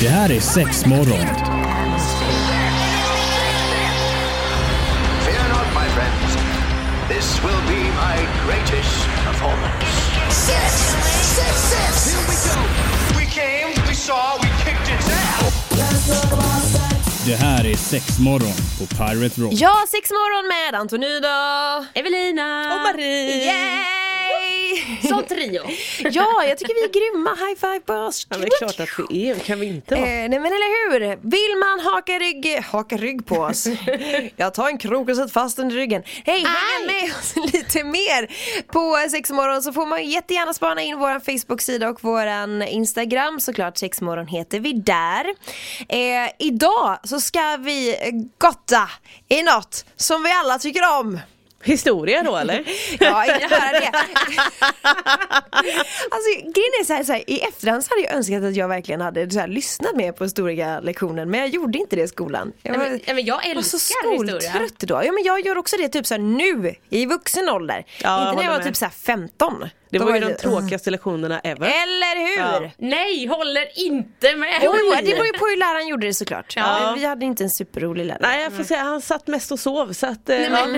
Det här är sex morgon. Fear not, my friends. This will be my greatest performance. Six, six, six. Here we go. We came, we saw, we kicked its ass. Det här är sex morgon på Pirate Rock. Ja, sex morgon med Antonina! Evelina! Och Marie. Yay! Som trio. Ja, jag tycker vi är grymma. High five på oss! Ja, det är klart att vi är, kan vi inte Eh, vara? nej men eller hur! Vill man haka rygg, haka rygg på oss? Jag tar en krok och sätter fast den i ryggen. Hej, häng med oss lite mer på Sexmorgon så får man ju jättegärna spana in vår Facebook-sida och våran Instagram såklart. Sexmorgon heter vi där. Eh, idag så ska vi gotta i något som vi alla tycker om. Historia då eller? Ja, inte höra det. alltså grejen är så här, så här, i efterhand så hade jag önskat att jag verkligen hade så här, lyssnat mer på historia-lektionen men jag gjorde inte det i skolan. Jag Nej, men- nej, men jag var så älskar historia. skoltrött idag. Ja men jag gör också det typ så här nu, i vuxen ålder. jag inte när håller jag var med. typ så här 15. Det Då var ju jag de typ, tråkigaste lektionerna ever. Eller Eh, hur! Ja. Nej, håller inte med! Jo, jo, det beror ju på hur läraren gjorde det såklart. Ja. Men vi hade inte en superrolig lärare. Nej jag får säga, han satt mest och sov så att eh, ja.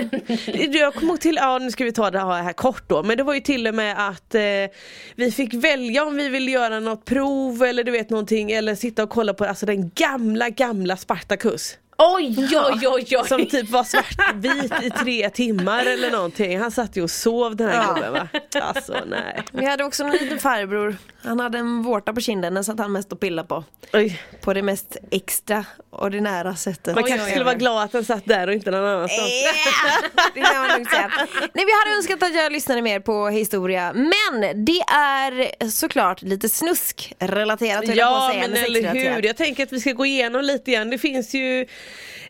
Jag kommer ihåg till, ja nu ska vi ta det här kort då Men det var ju till och med att eh, Vi fick välja om vi ville göra något prov eller du vet någonting Eller sitta och kolla på alltså den gamla gamla Spartacus Oj, oj, oj, oj! Som typ var svartvit i tre timmar eller någonting Han satt ju och sov den här gubben va Alltså nej Vi hade också en liten farbror. Han hade en vårta på kinden, den satt han mest och pillade på. Oj. på det mest extraordinära sättet. Man kanske skulle vara glad att den satt där och inte någon annanstans. Yeah! Det kan man lugnt säga. Nej, vi hade önskat att jag lyssnade mer på historia men det är såklart lite snusk-relaterat höll jag på Ja att säga, men eller hur, sexrelaterat. jag tänker att vi ska gå igenom lite igen. Det finns ju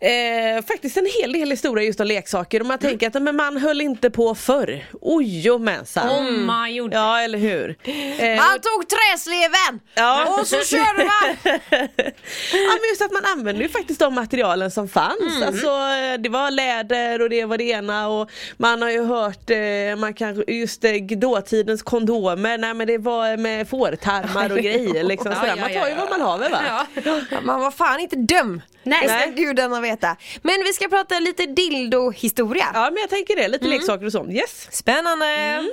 eh, faktiskt en hel del historia just om leksaker och man tänker att men man höll inte på förr. Ojomensan. Om man gjorde. Mm. Ja eller hur. Eh, Han tog träsleven! Ja. Och så körde man! ja men just att man använde ju faktiskt de materialen som fanns. Mm. Alltså eh, det var läder och det var det ena och man har ju hört eh, man kan, just eh, dåtidens kondomer, nej men det var med fårtarmar och grejer liksom. Ja, Sådär. ja, Man ja, tar ju ja. vad man har med va? Ja. Man var fan inte dum! Nej. Det ska gudarna veta. Men vi ska prata lite dildo-historia. Ja men jag tänker det, Mm. lite leksaker och sånt. Yes! Spännande! Mm.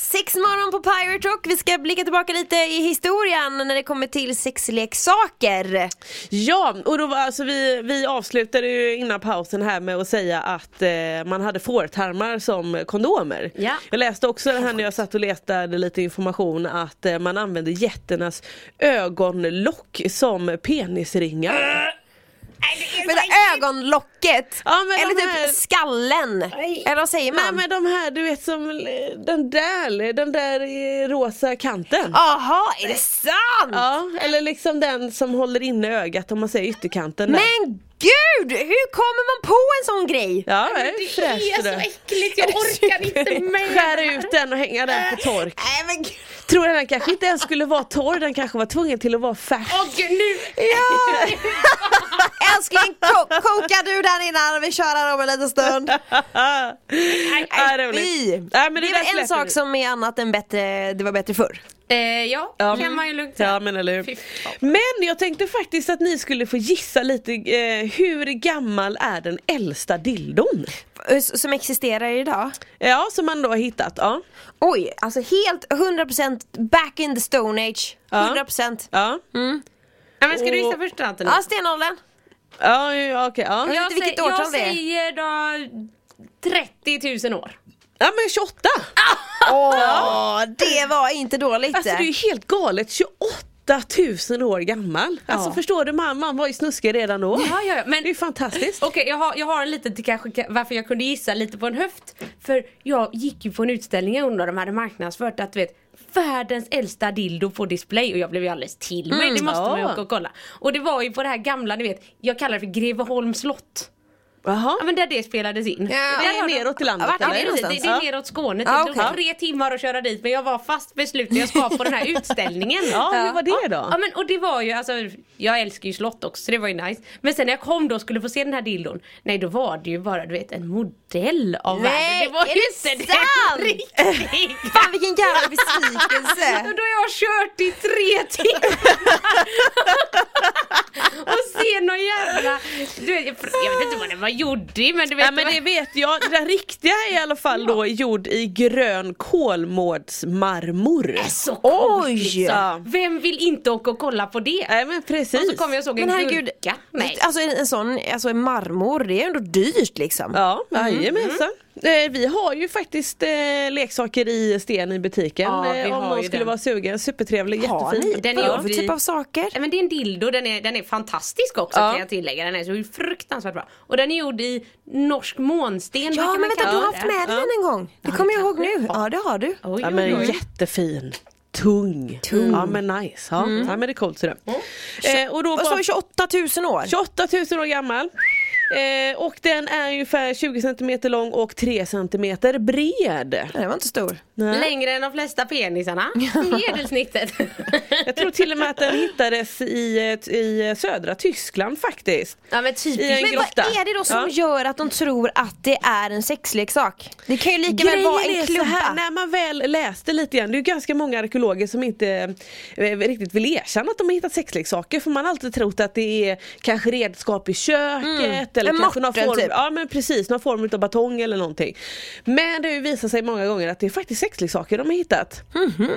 Sex morgon på Pirate Rock. Vi ska blicka tillbaka lite i historien när det kommer till sexleksaker. Ja, och då var, alltså, vi, vi avslutade ju innan pausen här med att säga att eh, man hade fårtarmar som kondomer. Ja. Jag läste också det här när jag satt och letade lite information att eh, man använde jätternas ögonlock som penisringar. Men det ögonlocket! Ja, men eller de typ här- skallen! Eller vad säger Nej man? men de här du vet som eh, den där, den där eh, rosa kanten. Aha, är det sant? Ja, eller liksom den som håller inne ögat om man säger ytterkanten där. Men gud! Hur kommer man på en sån grej? Ja, Det det är fräscht är det. så äckligt, jag orkar inte med! Skär ut den och hänga den på tork. Nej men gud. Tror jag den kanske inte ens skulle vara torr, den kanske var tvungen till att vara färsk. Åh gud, nu! Ja! Älskling, ko- kokar du den innan vi kör här om en liten stund? ja, roligt. Fy. Ja, men det det, där är väl en släpper sak vi. som är annat än bättre, det var bättre förr. Eh, ja, Ja, kan man ju lugnt säga. Ja men eller hur. Fy fan. Men jag tänkte faktiskt att ni skulle få gissa lite eh, hur gammal är den äldsta dildon? S- Som existerar idag. Ja som man då har hittat. Ja. Oj, alltså helt 100% back in the stone age. Ja. 100%. Ja. Alltså- Nej, Mm. men ska du gissa först då Antonija? Ja, stenåldern. Ja, ja okej. Ja. vet Jag, inte vilket säger- årtal jag det är. säger då 30 000 år. ja men 28! Åh, det var inte dåligt. Alltså det är ju helt galet, 28 000 år gammal. Alltså Ja. förstår du, man, man var ju snuskig redan då. Ja, ja, ja, men- Det är ju fantastiskt. Okej, jag, har, jag har en liten till kanske ka- varför jag kunde gissa lite på en höft. För jag gick ju på en utställning en gång där de hade marknadsfört att du vet Världens äldsta dildo på display och jag blev ju alldeles till mig. det måste man ju ja. åka och kolla. Och det var ju på det här gamla, ni vet, jag kallar det för Greveholms slott. Jaha. Ja men där det spelades in. Ja. Där Det är har de- neråt i landet, Ja, eller? precis. det, det Ja. är neråt Skåne. Ja, Det tog okej. tre timmar att köra dit men jag var fast besluten, jag ska på den här utställningen. Ja, hur var det Ja då? men och det var ju alltså, jag älskar ju slott också så det var ju nice. Men sen när jag kom då och skulle få se den här dildon, nej då var det ju bara du vet en modell av Nej, världen. Det var är ju det inte sant? den riktigt. Fan vilken jävla besvikelse. Och då har jag kört i tre timmar! och ser någon jävla... Du vet, jag, jag vet inte vad den var gjord i men du vet... Ja men det vet jag, den riktiga är i alla fall då gjord i grön kolmårdsmarmor. så Oj! konstigt. Vem vill inte åka och kolla på det? Nej men Och precis. så kom jag och såg Men en herregud, gurka. Nej. alltså en, en sån alltså en marmor, det är ändå dyrt liksom. Ja, Mhm, jajamensan. Eh, Vi har ju faktiskt eh, leksaker i sten i butiken Ja, vi eh, om har någon ju skulle den. vara sugen. Supertrevlig, Har jättefin. ni? Den Vad är för gjord i- typ av saker? Nej, Men det är en dildo, den är, den är fantastisk också Ja. kan jag tillägga. Den är så fruktansvärt bra. Och den är gjord i norsk månsten. vad Ja kan men man vänta, du kalla har det? haft med dig den en gång. Det kommer jag ihåg nu. Ja det har du. Oj, Ja oj, men oj. jättefin. Tung. Ja men nice. Ja, Mm. ja men det är coolt ser du. Eh, och då Vad sa var vi, 28 000 år? 28 000 år gammal. Eh, och den är ungefär 20 cm lång och 3 cm bred. Den var inte stor. Längre än de flesta penisarna. Medelsnittet. Jag tror till och med att den hittades i, eh, t- i eh, södra Tyskland faktiskt. Ja men I en typiskt. Men grotta. vad är det då som Ja. gör att de tror att det är en sexleksak? Det kan ju lika väl Grejen vara är en så här, klubba. när man väl läste lite grann, det är ju ganska många arkeologer som inte eh, riktigt vill erkänna att de har hittat sexleksaker för man har alltid trott att det är kanske redskap i köket eller Mm. En kanske någon mortel, form, typ. ja, men precis, någon form av batong eller någonting. Men det har ju visat sig många gånger att det är faktiskt sexleksaker de har hittat. Mm. Men jag vill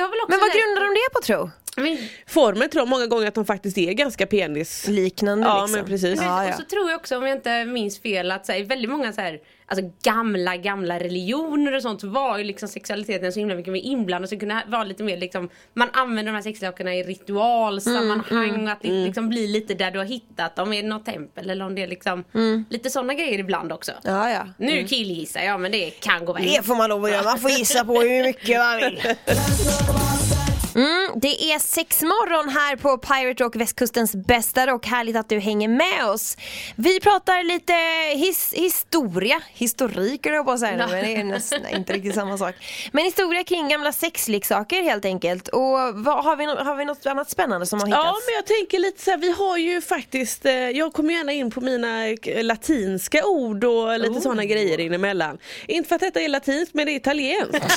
också Men vad läsa- grundar de det på tro? Men- Formen tror jag många gånger att de faktiskt är ganska penis. Liknande Ja liksom. men precis. Men, Ja, ja. Och så tror jag också om jag inte minns fel att så här, väldigt många så här, alltså, gamla gamla religioner och sånt var ju liksom sexualiteten så himla mycket mer inblandad så det kunde vara lite mer liksom man använder de här sexleksakerna i Mm, ritualsammanhang och att det liksom blir lite där du har hittat dem i något tempel eller om det är liksom lite sådana grejer ibland också. Mm. Ja, ja. Nu killgissar jag men det kan gå väl. Det får man lov att göra, man får gissa på hur mycket man vill. Mm, det är sex morgon här på Pirate Rock, västkustens bästa rock. Härligt att du hänger med oss. Vi pratar lite his historia, historik höll jag på att säga nu, men det är nästan inte riktigt samma sak. Men historia kring gamla sexleksaker helt enkelt. Och vad, har, vi no- har vi något annat spännande som har hittats? Ja men jag tänker lite så här, vi har ju faktiskt, eh, jag kommer gärna in på mina eh, latinska ord och Oh. lite sådana grejer inemellan. Inte för att detta är latinskt men det är italienskt.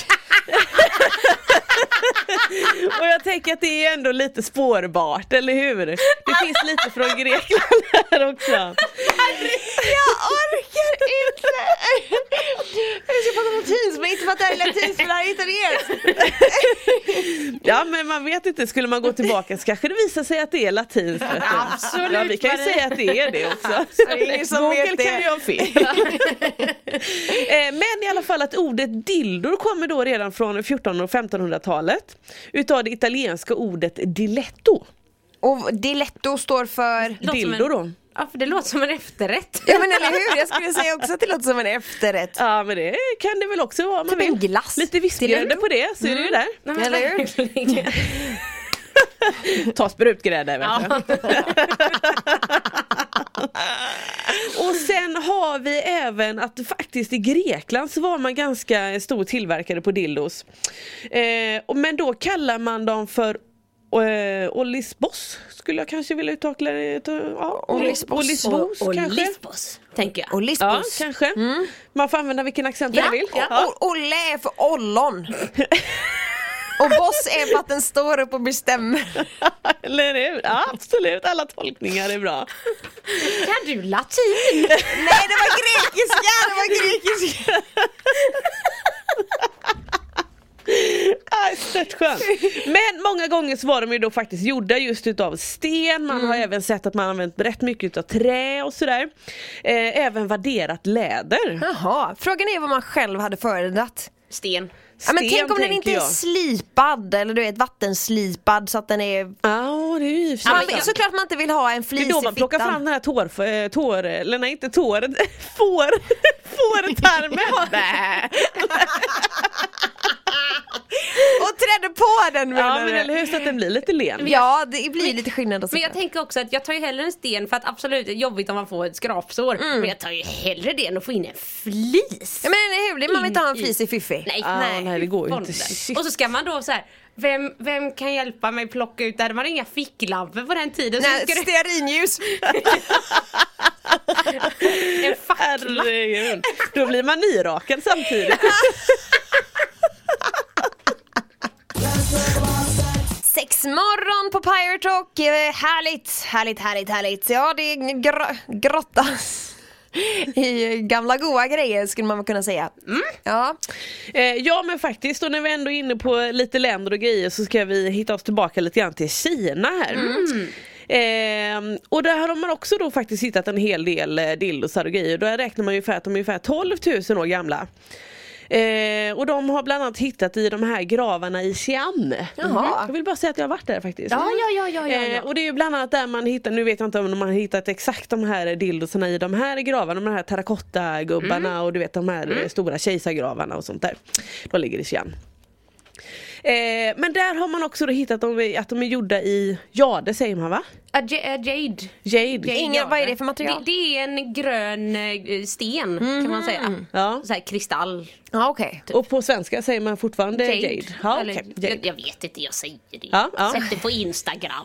och jag tänker att det är ändå lite spårbart, eller hur? Det finns lite från Grekland här också. Jag orkar inte! Jag ska prata latinsk men inte för att det här är latinskt för det här är italienskt. Ja men man vet inte, skulle man gå tillbaka så kanske det visar sig att det är latinskt. vet du. Absolut, Ja vi kan ju Marie. säga att det är det också. det är ingen som Google vet det. kan ju ha fel. Eh, Men i alla fall att ordet dildor kommer då redan från 1400 och 1500-talet Utav det italienska ordet diletto Och diletto står för? Låter som en- Dildo då? Ja för det låter som en efterrätt. Ja men eller hur, jag skulle säga också att det låter som en efterrätt. Ja men det kan det väl också vara om man Typ en vill. glass. Lite vispgrädde Diletto. på det så är det ju där Nej, men Eller hur? verkligen. Ta sprutgrädde vet du. Ja. Och sen har vi även att faktiskt i Grekland så var man ganska stor tillverkare på dildos. Eh, och- men då kallar man dem för eh, Olisbos skulle jag kanske vilja utveckla det. till. Ja, Olisbos. Olisbos Och kanske. Lisbos tänker jag. Och Ja, lisbos. kanske. Man får använda vilken accent Mm. Ja, man vill. ja. Ja. O- Olle är för ollon. Och boss är för att den står upp och bestämmer. Eller hur? Ja, absolut, alla tolkningar är bra. Kan du latin? Nej det var grekiska, det var grekiska. Ah, stört skönt. Men många gånger så var de ju då faktiskt gjorda just utav sten, man har även sett att man använt rätt mycket utav trä och sådär. Eh, även vadderat läder. Jaha, frågan är vad man själv hade föredragit. Sten. Ja, men Sten, tänk om den tänker inte är jag. slipad eller du vet vattenslipad så att den är Ja, det är ju i och för Man sig vill, sant. såklart man inte vill ha en Det flis är då man i plockar fittan. fram den här tår, eh, tår eller nej inte tår, får, fårtarmen. och trädde på den menar Ja men du? eller hur, så att den blir lite len. Ja, det blir lite skillnad och Men jag tänker också att jag tar ju hellre en sten för att absolut det är jobbigt om man får ett skrapsår. Men jag tar ju hellre det än att få in en flis. Ja, men eller hur, det- man vill inte ha en flis i fiffi. Nej, Ah, nej. nej, det går ju inte. Bollen. Shit. Och så ska man då så här. Vem, vem kan hjälpa mig plocka ut det här? Det var inga ficklampor på den tiden. Så Nej, ska du, stearinljus. en fackla. Herregud. Då blir man nyrakad samtidigt. Sex morgon på Pirate Rock. Eh, Härligt, härligt, härligt, härligt. Ja, det är gr- grotta. I gamla goa grejer skulle man väl kunna säga. Mm. Ja. Eh, ja men faktiskt, och när vi ändå är inne på lite länder och grejer så ska vi hitta oss tillbaka lite grann till Kina här. Mm. Ehm, och där har man också då faktiskt hittat en hel del eh, dildosar och grejer. Där räknar man ungefär att de är ungefär 12 000 år gamla. Eh, och de har bland annat hittat i de här gravarna i Xi'an. Mm. Jaha. Jag vill bara säga att jag har varit där faktiskt. Ja, ja, ja, ja, ja, ja. Eh, och det är ju bland annat där man hittar, nu vet jag inte om man har hittat exakt de här dildosarna i de här gravarna, de här terrakottagubbarna och du vet de här eh, stora kejsargravarna och sånt där. De ligger i Xi'an. Eh, men där har man också då hittat dem, i- att de är gjorda i jade säger man va? A j- a jade. Jade. Jade, Ingen- ja. vad är det för material? Det, det är en grön eh, sten kan man säga. Ja. Så här kristall. Ja, okej. Och på svenska säger man fortfarande jade. Jade. Ja, Eller, okej, jag, jade. jag vet inte, jag säger det. Ja, ja. Sätt det på Instagram.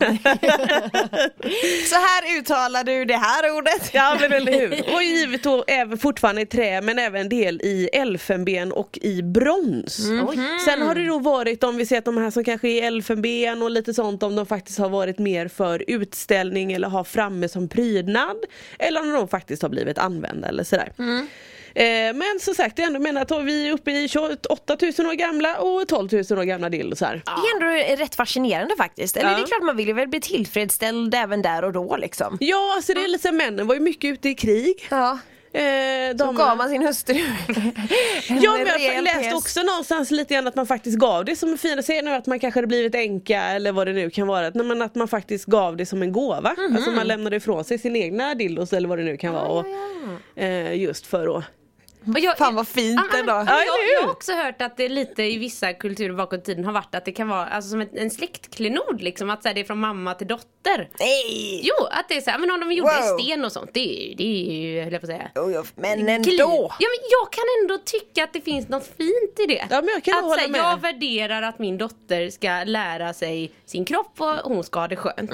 Så här uttalar du det här ordet. Ja men eller hur. Och givet då även fortfarande i trä men även del i elfenben och i brons. Sen har det då varit om vi ser att de här som kanske är elfenben och lite sånt om de faktiskt har varit mer för utställning eller har framme som prydnad. Eller om de faktiskt har blivit använda eller sådär. Eh, men som sagt jag ändå menar att vi är uppe i 28 000 år gamla och 12 000 år gamla dildosar. Det är ändå rätt fascinerande faktiskt. Eller Ja. det är klart man vill ju väl bli tillfredsställd även där och då liksom. Ja alltså det är lite så här, männen var ju mycket ute i krig. Ja. Eh, Då damerna- gav man sin hustru en Ja men jag rejäl läste pes. också någonstans lite grann att man faktiskt gav det som en fin, säger nu att man kanske hade blivit änka eller vad det nu kan vara, Nej, men att man faktiskt gav det som en gåva. Alltså man lämnade ifrån sig sin egna dildos eller vad det nu kan vara. Och, eh, just för att Och jag, Fan, vad Ah, fint Ja, men- ändå. men Ja, eller Jag, jag hur? har också hört att det är lite i vissa kulturer bakåt i tiden har varit att det kan vara alltså, som ett, en släktklenod liksom. Att så här, det är från mamma till dotter. Nej! Jo, att det är så här, men om de är gjorda Wow. i sten och sånt. Det, är ju- det är ju, höll jag på att säga. Jo, jo, Men Gli- ändå! Ja, men jag kan ändå tycka att det finns något fint i det. Ja, men jag kan att, hålla så här, med. Jag värderar att min dotter ska lära sig sin kropp och hon ska ha det skönt.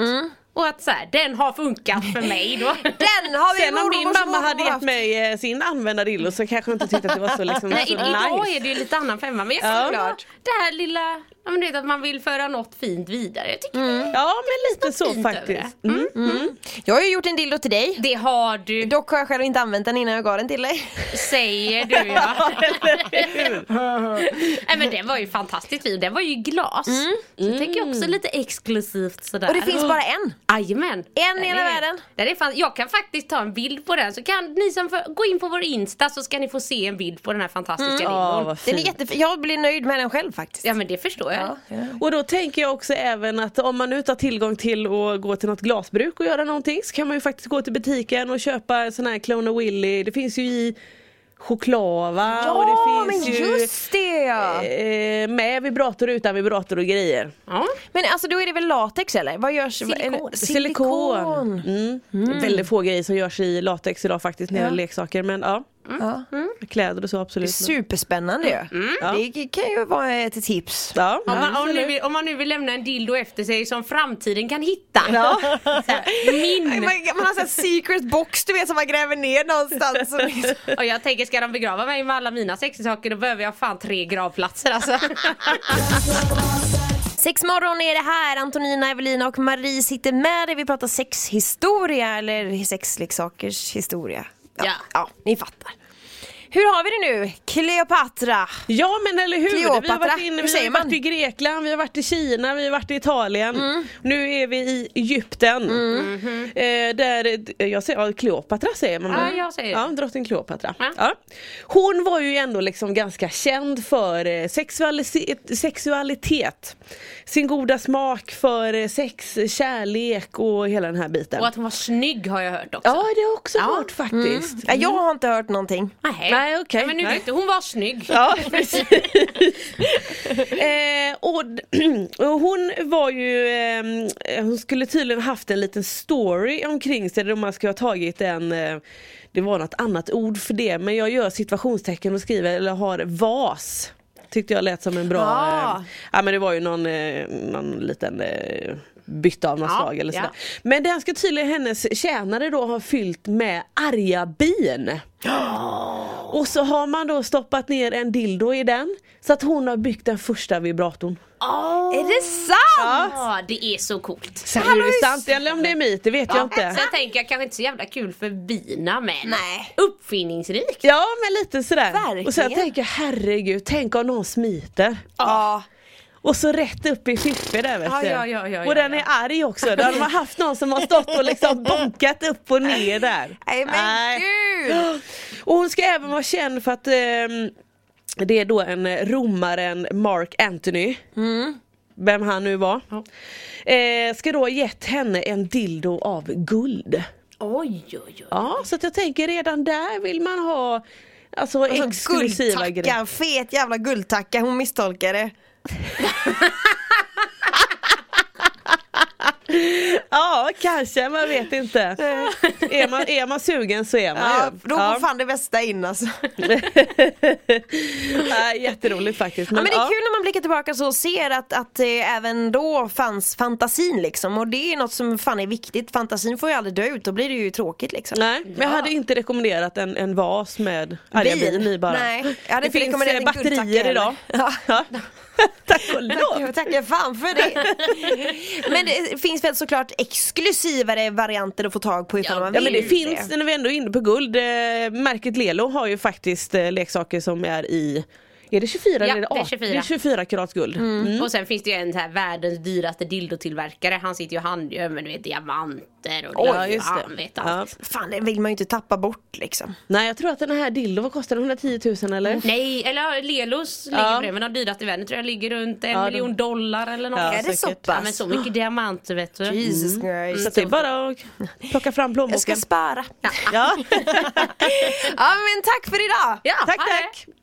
Och att så här, den har funkat för mig då. Mm. Den har vi Sen om min mormors mamma hade mormor gett mig eh, sin använda dildos så kanske jag inte tyckte att det var så, liksom, Nej, så i, idag är nice. det ju lite annan femma men jag Ja. tycker ja. det här lilla, ja, men du vet att man vill föra något fint vidare. Jag tycker Ja men lite så fint över faktiskt. det. Mm. Jag har ju gjort en dildo till dig. det har du, Dock har jag själv inte använt den innan jag gav den till dig. säger du ja. Eller hur? Nej men den var ju fantastiskt fin, den var ju i glas. Så jag tänker också lite exklusivt sådär. Och det finns bara en. Jajamän. En i Den hela är- världen. Den är fan, jag kan faktiskt ta en bild på den så kan ni som för, gå in på vår Insta så ska ni få se en bild på den här fantastiska Ja, mm. vad Den är fint. jättefin. Jag blir nöjd med den själv faktiskt. Ja men det förstår jag. Och då tänker jag också även att om man nu inte har tillgång till att gå till något glasbruk och göra någonting så kan man ju faktiskt gå till butiken och köpa sån här Clone och Willy. Det finns ju i choklad va? och Ja, det men finns just det ja. ju eh, med vibrator och utan vibrator och grejer. Ja. Men alltså då är det väl latex eller? Vad görs? Silikon. eller- Silikon. Mm. Väldigt få grejer som görs i latex idag faktiskt när det gäller leksaker men ja. Ja. Kläder och så absolut. Superspännande ju. Mm. Det kan ju vara ett tips. Ja, Om, man, om, absolut. nu vill, om man nu vill lämna en dildo efter sig som framtiden kan hitta. Så här, Man, min. man har en secret box du vet som man gräver ner någonstans. och liksom- Och jag tänker ska de begrava mig med alla mina sexsaker då behöver jag fan tre gravplatser alltså. Sex morgon är det här. Antonina, Evelina och Marie sitter med dig. Vi pratar sexhistoria eller sexleksakers historia. Ja. ja, ni fattar. Hur har vi det nu? Cleopatra. Ja men eller hur, vi har Kleopatra. varit, Hur inne, vi har ju säger varit man? i Grekland, vi har varit i Kina, vi har varit i Italien. Nu är vi i Egypten. Eh, där, eh, jag säger, ja, Kleopatra säger man väl? Ja, jag säger det. Ja, drottning Kleopatra. Ja. Ja. Hon var ju ändå liksom ganska känd för eh, sexualise- sexualitet. Sin goda smak för eh, sex, kärlek och hela den här biten. Och att hon var snygg har jag hört också. Mm. Ja det har jag också hört faktiskt. Ja, jag har inte hört någonting. Nej. Nej okej. Ja, men nu Nej. vet du, hon var snygg. Ja, precis. eh, och, d- och hon var ju, ehm, hon skulle tydligen haft en liten story omkring sig där man skulle ha tagit en, eh, det var något annat ord för det, men jag gör situationstecken och skriver, eller har vas. Tyckte jag lät som en bra, Ah. eh, ja men det var ju någon, eh, någon liten eh, bytta av något Ja, slag eller ja. sådär. Men den ska tydligen hennes tjänare då ha fyllt med arga bin. Och så har man då stoppat ner en dildo i den så att hon har byggt den första vibratorn. Är det sant? Ja, det är så coolt. Sen är det sant eller om det är myt, det vet jag inte. Sen tänker jag kanske inte så jävla kul för bina men Nej. uppfinningsrikt. Ja men lite sådär. Och sen Verkligen. tänker jag herregud, tänk om någon smiter. Ja. Och så rätt upp i fiffi där vet Ja, du. ja, ja, ja, och ja, den ja. är arg också. Då hade man haft någon som har stått och liksom bonkat upp och ner där. Nej men Nej. gud! Och hon ska även vara känd för att ehm, det är då en eh, romaren Mark Anthony Mm. Vem han nu var eh, Ska då ha gett henne en dildo av guld Oj, oj, oj. Ja så att jag tänker redan där vill man ha Alltså Alltså, exklusiva grejer guldtacka, fet jävla guldtacka, hon misstolkade. Ja kanske, man vet inte är, man, är man sugen så är man Ja, ju då var fan det bästa in alltså. ja, Jätteroligt faktiskt ja, men det är kul när man blickar tillbaka så och ser att, att eh, även då fanns fantasin liksom och det är något som fan är viktigt. Fantasin får ju aldrig dö ut, då blir det ju tråkigt liksom. Nej, men jag hade inte rekommenderat en, en vas med arga Bin. bin i bara. Nej, jag hade det inte finns rekommenderat eh, en batterier guldtacka idag. heller. Ja. Tack och lov. Jag tackar fan för det. Men det finns väl såklart exklusivare varianter att få tag på ifall Ja, man Ja vill men det Gud, finns, när vi ändå är inne på guld, eh, märket Lelo har ju faktiskt eh, leksaker som är i är det 24 Ja, eller är det 18? det är Mm. 24. Det är 24 karats guld. Och sen finns det ju en så här världens dyraste dildotillverkare. Han sitter ju och handgör med du vet, diamanter och Oj, glas och just det. han vet allt. Fan det vill man ju inte tappa bort liksom. Nej jag tror att den här dildo, vad kostar den? 110 000 eller? Mm. Nej, eller Lelos ligger på det, men de dyraste i världen tror jag ligger runt en Ja, de- miljon dollar eller något. Ja, är det så säkert. pass? Ja, men så mycket diamanter vet du. Jesus Christ. Mm. Så att det är bara att plocka fram plånboken. Jag ska spara. Ja. Ja men tack för idag! Ja, tack ha det. tack!